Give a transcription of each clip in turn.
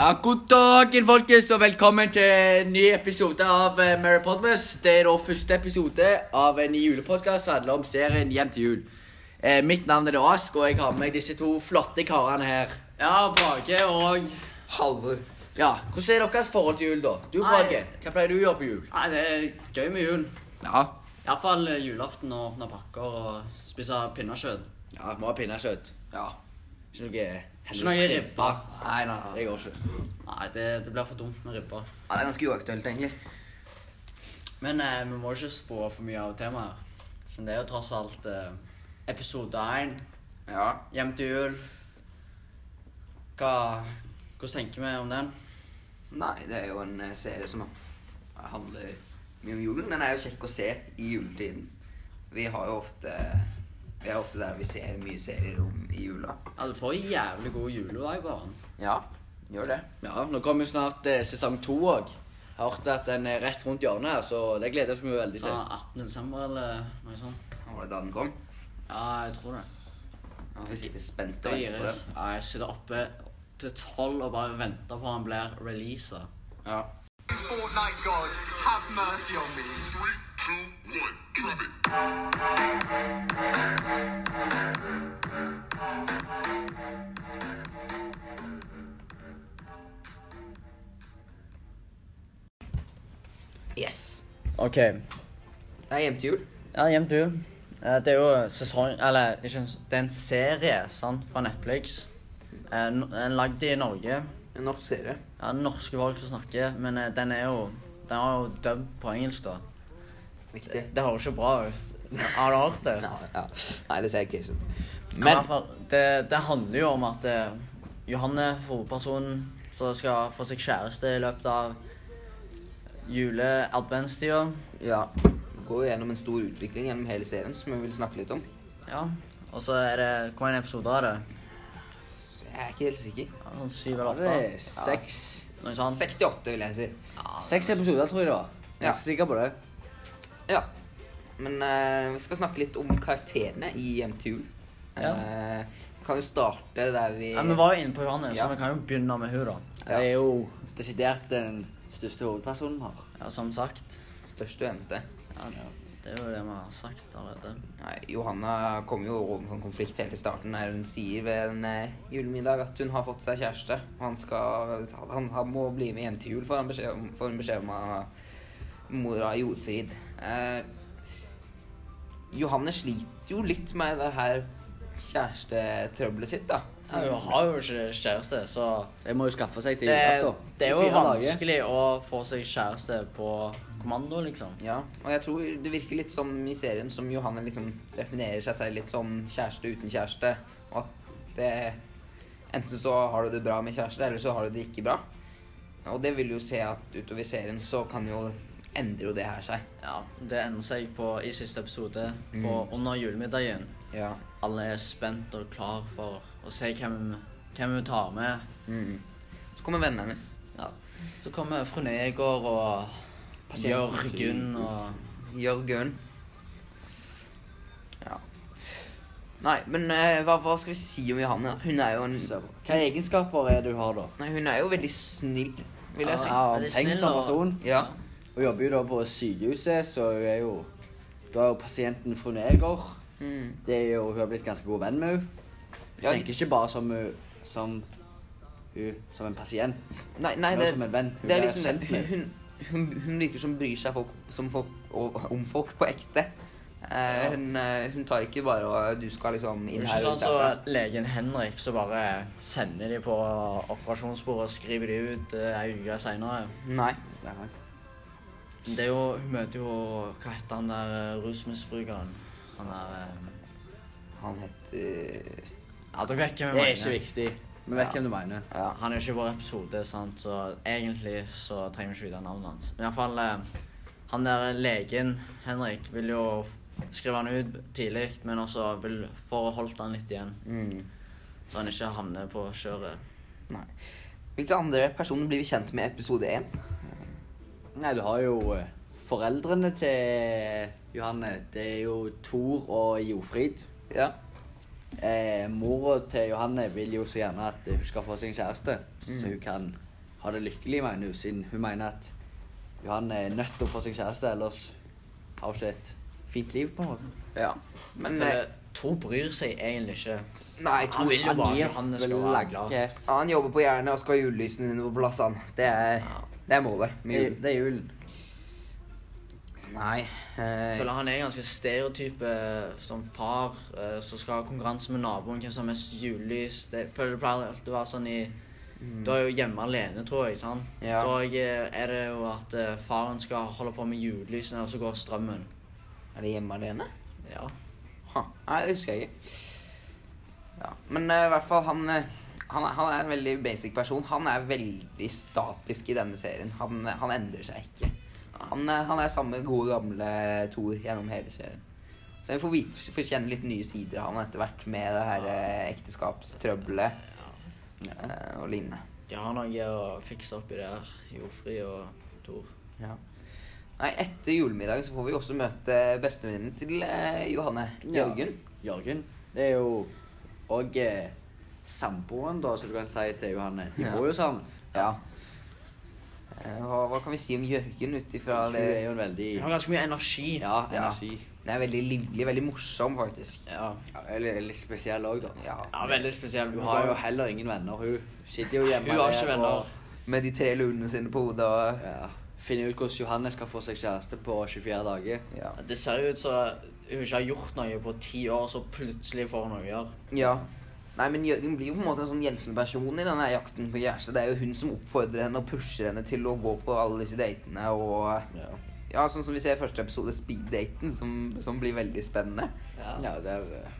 Ja, God dagen, folkens, og velkommen til en ny episode av eh, Mary Podmas. Det er da første episode av en ny julepodkast som handler om serien Hjem til jul. Eh, mitt navn er da Ask, og jeg har med meg disse to flotte karene her. Ja, Brage og Halvor. Ja, Hvordan er deres forhold til jul, da? Du, Nei. Brage, hva pleier du å gjøre på jul? Nei, det er gøy med jul. Ja, Iallfall eh, julaften og åpne pakker og spise pinnekjøtt. ja må ha pinnekjøtt. Ja. Ikke noe Ikke noe ribbe. Nei, nei, nei. Det går ikke. nei det, det blir for dumt med ribbe. Ja, det er ganske uaktuelt, egentlig. Men eh, vi må ikke spå for mye av temaet. Så det er jo tross alt eh, episode én. Ja. Hjem til jul. Hva Hvordan tenker vi om den? Nei, det er jo en eh, serie som handler mye om julen. Den er jo kjekk å se i juletiden. Vi har jo ofte Vi er ofte der vi ser mye serier om i jula. Ja, du får jævlig god julevibe av den. Ja, gjør det. Ja, Nå kommer jo snart eh, sesong to òg. Har hørt at den er rett rundt hjørnet her, så det gleder vi oss mye veldig til. Sånn 18. desember eller noe sånt. Var det da den kom? Ja, jeg tror det. Ja, vi sitter spent Det og gir venter på jeg. den. Ja, jeg sitter oppe til tolv og bare venter på han blir releasa. Ja. Fortnite gods, have mercy on me. Three, two, one, drop it. Yes. OK. Det er hjem til jul. Ja, hjem til jul. Eh, Det er jo sesong Eller ikke en s- det er en serie sant, fra Netflix. Eh, no- Den er lagd i Norge. En norsk serie. Ja, norske folk som snakker, men eh, den er jo Den er jo dubbed på engelsk, da. Viktig. Det høres ikke bra ut. Har du hørt det? Ja, ja. Nei, det ser ikke sånn Men i hvert fall, det, det handler jo om at eh, Johanne, hovedpersonen, som skal få seg kjæreste i løpet av jule-adventstida Ja. Vi går jo gjennom en stor utvikling gjennom hele serien som vi vil snakke litt om. Ja. Og så er det Hvor mange episoder er det? Så jeg er ikke helt sikker. Ja, Sånn syv eller Det åtte? er seks Noe sånt. 68, vil jeg si. Seks episoder, tror jeg det var. Jeg er Ja. ikke sikker på det. Ja. Men eh, vi skal snakke litt om karakterene i Hjem til jul. Ja. Eh, vi kan jo starte der vi Ja, vi var jo inne på Johanne, Ja. så vi kan jo begynne med hun da. Ja. Det er jo desidert den største hovedpersonen vi har. Ja, Som sagt. Største og eneste. Ja, det er jo det vi har sagt allerede. Nei, Johanna kommer jo overfor en konflikt helt i starten der hun sier ved en eh, julemiddag at hun har fått seg kjæreste. Og han, skal, han, han må bli med hjem til jul, får han beskjed om, får hun beskjed om av mora Jordfrid. Eh, Johanne sliter jo litt med det her kjærestetrøbbelet sitt, da. Ja, hun har jo ikke kjæreste, så De må jo skaffe seg til det, julaften. det er jo 24 dager. vanskelig å få seg kjæreste på kommando, liksom. Ja, og jeg tror det virker litt som i serien som Johanne liksom definerer seg selv litt som kjæreste uten kjæreste. Og at det Enten så har du det bra med kjæreste, eller så har du det ikke bra. Og det vil jo se at utover serien så kan jo endrer jo det her seg. Ja, det ender seg på, i siste episode Mm. på under julemiddagen. Ja. Alle er spent og klar for å se hvem, hvem hun tar med. Mm. Så kommer vennene hennes. Ja. Så kommer fru Negård og Jørgen og Jørgen. Ja. Nei, men eh, hva, hva skal vi si om Johanne? da? Hun er jo en Hvilke egenskaper er det du har, da? Nei, hun er jo veldig snill, vil jeg si. Ja, veldig Tenk snill som og- person. Ja. Hun jobber jo da på sykehuset, så hun er jo Du har jo pasienten fru Nergård. Mm. Det er jo, hun har blitt ganske god venn med henne. Hun Ja, tenker ikke bare som, hun- som, hun, som en pasient. Nei, nei Hun er det, som en venn. Hun det er er liksom kjent med. Hun, hun, hun virker som bryr seg folk, som folk, og, om folk på ekte. Eh, Ja. hun, eh, hun tar ikke bare og du skal liksom Det inn er her ikke og sånn ut som derfra. legen Henrik, så bare sender de på operasjonsbordet og skriver de ut eh, ei uke seinere. Nei. Nei. Det er jo Hun møter jo Hva heter han der eh, rusmisbrukeren? Han der eh, Han heter Ja, dere vet hvem jeg Det er mener. ikke viktig. Vi vet hvem du mener. Ja. Han er ikke i vår episode, sant? så egentlig så trenger vi ikke vite navnet hans. Men iallfall eh, han der legen, Henrik, vil jo f- skrive han ut tidlig, men også vil forholdt han litt igjen, Mm. så han ikke havner på kjøret. Nei. Hvilke andre personer blir vi kjent med i episode én? Nei, du har jo eh, foreldrene til Johanne. Det er jo Thor og Jofrid. Ja. Eh, Mora til Johanne vil jo så gjerne at hun skal få seg en kjæreste, så hun kan ha det lykkelig, mener hun, siden hun mener at Johan er nødt til å få seg kjæreste, ellers har hun ikke et fint liv, på en måte. Ja. Men For eh, det- Tor bryr seg egentlig ikke. Nei, Han Tor vil jo Han bare gir at Johannes skal være glad. blanke- Han jobber på jernet og skal ha julelysene dine på plass, han. Det er, Ja. det er målet med Eh, Det julen. det er julen. Nei. Jeg Eh, føler han er ganske stereotype som far eh, som skal ha konkurranse med naboen hvem som har mest julelys. Det, jeg føler det pleier alltid å være sånn i Mm. Da er jeg jo hjemme alene, tror jeg. sant? Ja. Da jeg, eh, er det jo at eh, faren skal holde på med julelysene, og så går strømmen. er det hjemme alene? Ja. Ha. Nei, det husker jeg ikke. Ja. Men eh, i hvert fall, han, eh, han, er- han er en veldig basic person. Han er veldig statisk i denne serien. Han, eh, han endrer seg ikke. Han, eh, han er samme gode gamle Thor gjennom hele serien. Så vi får, vite, får kjenne litt nye sider av han etter hvert med det her eh, ekteskapstrøbbelet eh, og lignende. De har noe å fikse oppi der, Jofri og Tor. Ja. Nei, etter julemiddagen så får vi også møte bestevenninnen til eh, Johanne. Ja. Jørgen. Jørgen. Det er jo òg eh, samboeren, da, som du kan si til Johanne. De Ja. bor jo sammen. Ja. Eh, Hva, hva kan vi si om Jørgen ut ifra Hun det? er jo en veldig De har ganske mye energi. Ja, Ja. energi. Hun er veldig livlig, veldig morsom, faktisk. Ja, Ja, eller litt spesiell òg, da. Ja. ja veldig spesiell. Hun har jo heller ingen venner. Hun sitter jo hjemme Hun har der ikke venner. og Med de tre lurene sine på hodet og ja, finner ut hvordan Johanne skal få seg kjæreste på 24 dager. Ja. Det ser jo ut som hun ikke har gjort noe på ti år, så plutselig får hun noe å gjøre. ja. Nei, men Jørgen blir jo på en måte en sånn jentende person i denne jakten på kjæreste. Det er jo hun som oppfordrer henne og pusher henne til å gå på alle disse datene og Ja, Ja, sånn som vi ser i første episode, speed-daten, som, som blir veldig spennende. ja det er eh,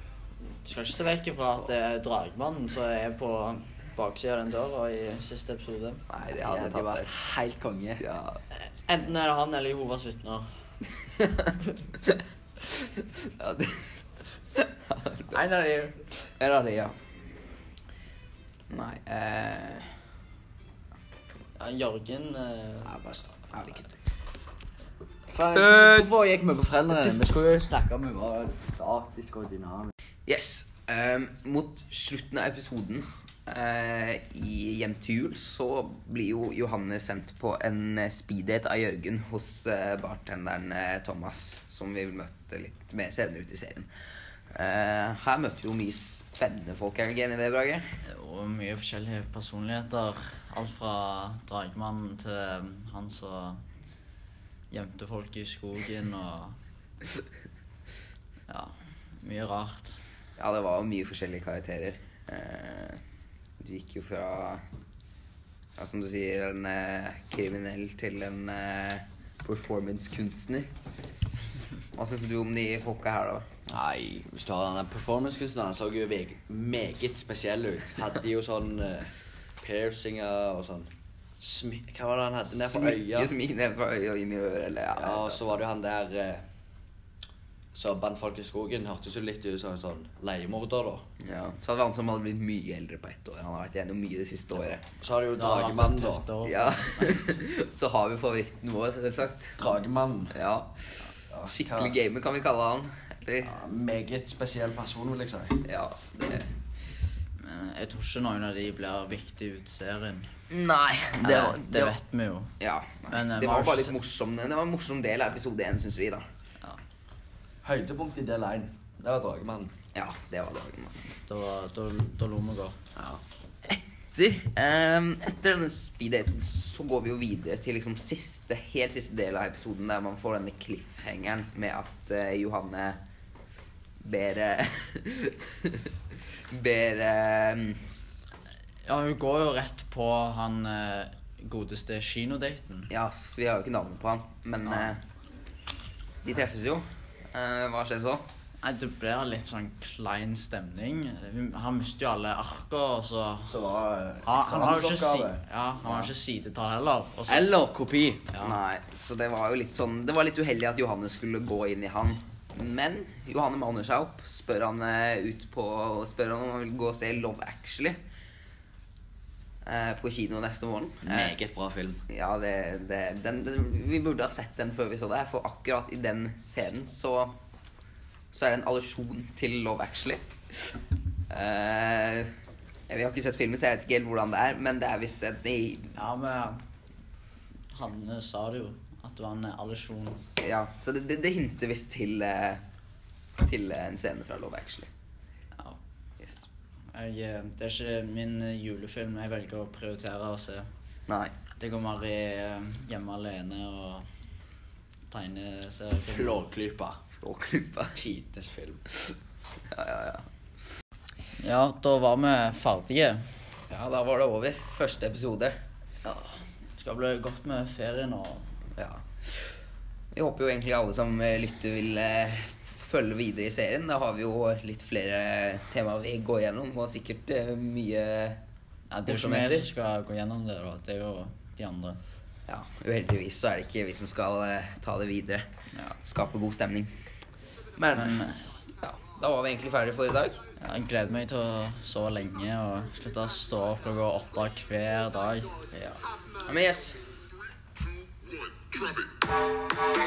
Skal ikke se vekk fra at det er dragmannen som er på baksida av den døra i siste episode. Nei, det Det hadde hadde tatt vært seg. helt konge. Ja. Enten er det han eller Jehovas vitner. ja det, En av de. Eller hadde ja. Nei eh, Ja, Jørgen eh, Ja, bare stopp. Ærlig kutt. Faen, Død! Hvorfor gikk vi på foreldrene? Vi skulle jo snakke om hun var statisk og dynamisk. Yes. ehm, mot slutten av episoden eh, i Hjem til jul så blir jo Johanne sendt på en eh, speeddate av Jørgen hos eh, bartenderen eh, Thomas, som vi vil møte litt mer senere ut i serien. Eh, her møter vi jo mye spennende folk. Er du ikke enig i det, Brage? Og mye forskjellige personligheter. Alt fra dragmannen til eh, han som gjemte folk i skogen og Ja. Mye rart. Ja, det var mye forskjellige karakterer. Eh, du gikk jo fra ja, som du sier, en eh, kriminell til en eh, performancekunstner. Hva syns du om de folka her, da? Nei, hvis du har den performancekunstneren, så jo veg- meget spesiell ut. Hadde jo sånn eh, piercinger og sånn Smi Hva var det han hadde ned for øya? Smykke som gikk ned fra øya og inn i øret, eller ja. Ja, og så var det jo han der eh, som bandt folk i skogen. Hørtes jo litt ut som en sånn leiemorder, da. ja. Så hadde vi han som hadde blitt mye eldre på ett år. Han har vært gjennom mye det siste året. Så har du jo Det har vært et Dragemannen, tøft da. år. Ja. så har vi favoritten vår, selvsagt. Dragemannen. Ja. Ja, Skikkelig hva- gamer, kan vi kalle han. Eller? Ja, meget spesiell person, vil jeg si. Ja. Det. Men Eh, jeg tror ikke noen av de blir viktige ut i serien. Nei. Det, Det, var- det var vet vi jo. Ja, Men, eh, det man har var bare ikke litt sett- morsom, det var en morsom del av episode 1, syns vi, da. Høydepunkt i del én. Det var Dragemannen. Ja, det var dagen. da. Da, da, da lo vi godt. Etter, eh, etter denne speeddaten så går vi jo videre til liksom siste, helt siste del av episoden, der man får denne cliffhangeren med at eh, Johanne ber eh, Ber eh, Ja, hun går jo rett på han eh, godeste kinodaten. Ja, s- vi har jo ikke navnet på han, men Nei. eh, de treffes jo. Eh, hva skjer så? Nei, Det blir litt sånn klein stemning. Hun- Han mister jo alle arker, og så Så var eh, det han, han har jo ikke, si, eksamensoppgave. ja, han har ikke sidetall heller. Og så, Eller kopi. Ja. Nei, så det var jo litt sånn Det var litt uheldig at Johanne skulle gå inn i han. Men Johanne manner seg opp, spør han eh, ut på Spør han om han vil gå og se Love Actually eh, på kino neste morgen. Eh, Meget bra film. ja, det, det den, den, Vi burde ha sett den før vi så det, for akkurat i den scenen så Så er det en allusjon til Love Actually. Eh, Vi har ikke sett filmen, så jeg vet ikke helt hvordan det er, men det er visst en i- Ja, men Hanne sa det jo. At det var en eh, allusjon. Ja, så det, det, det hinter visst til, eh, til eh, en scene fra Love Actually. Ja. Yes. Jeg, eh, det er ikke min eh, julefilm jeg velger å prioritere å se. Nei. Det går mer i eh, hjemme alene og tegneserier. Flåklypa. Flåklypa. Tidenes film. Ja, ja, ja. Ja, da var vi ferdige. Ja, da var det over. Første episode. Skal bli godt med ferien og Ja. Vi håper jo egentlig alle som eh, lytter vil eh, følge videre i serien. Da har vi jo litt flere temaer vi går gjennom, og sikkert eh, mye ja, Det er jo ikke morsomheter. vi som skal gå gjennom det, da. Det er jo de andre. Ja, uheldigvis så er det ikke vi som skal eh, ta det videre. Ja. Skape god stemning. Men, Men eh, ja, da var vi egentlig ferdige for i dag. ja, jeg gleder meg til å sove lenge og slutte å stå opp klokka åtte hver dag. Ja, men yes. Three, two, one, drop it.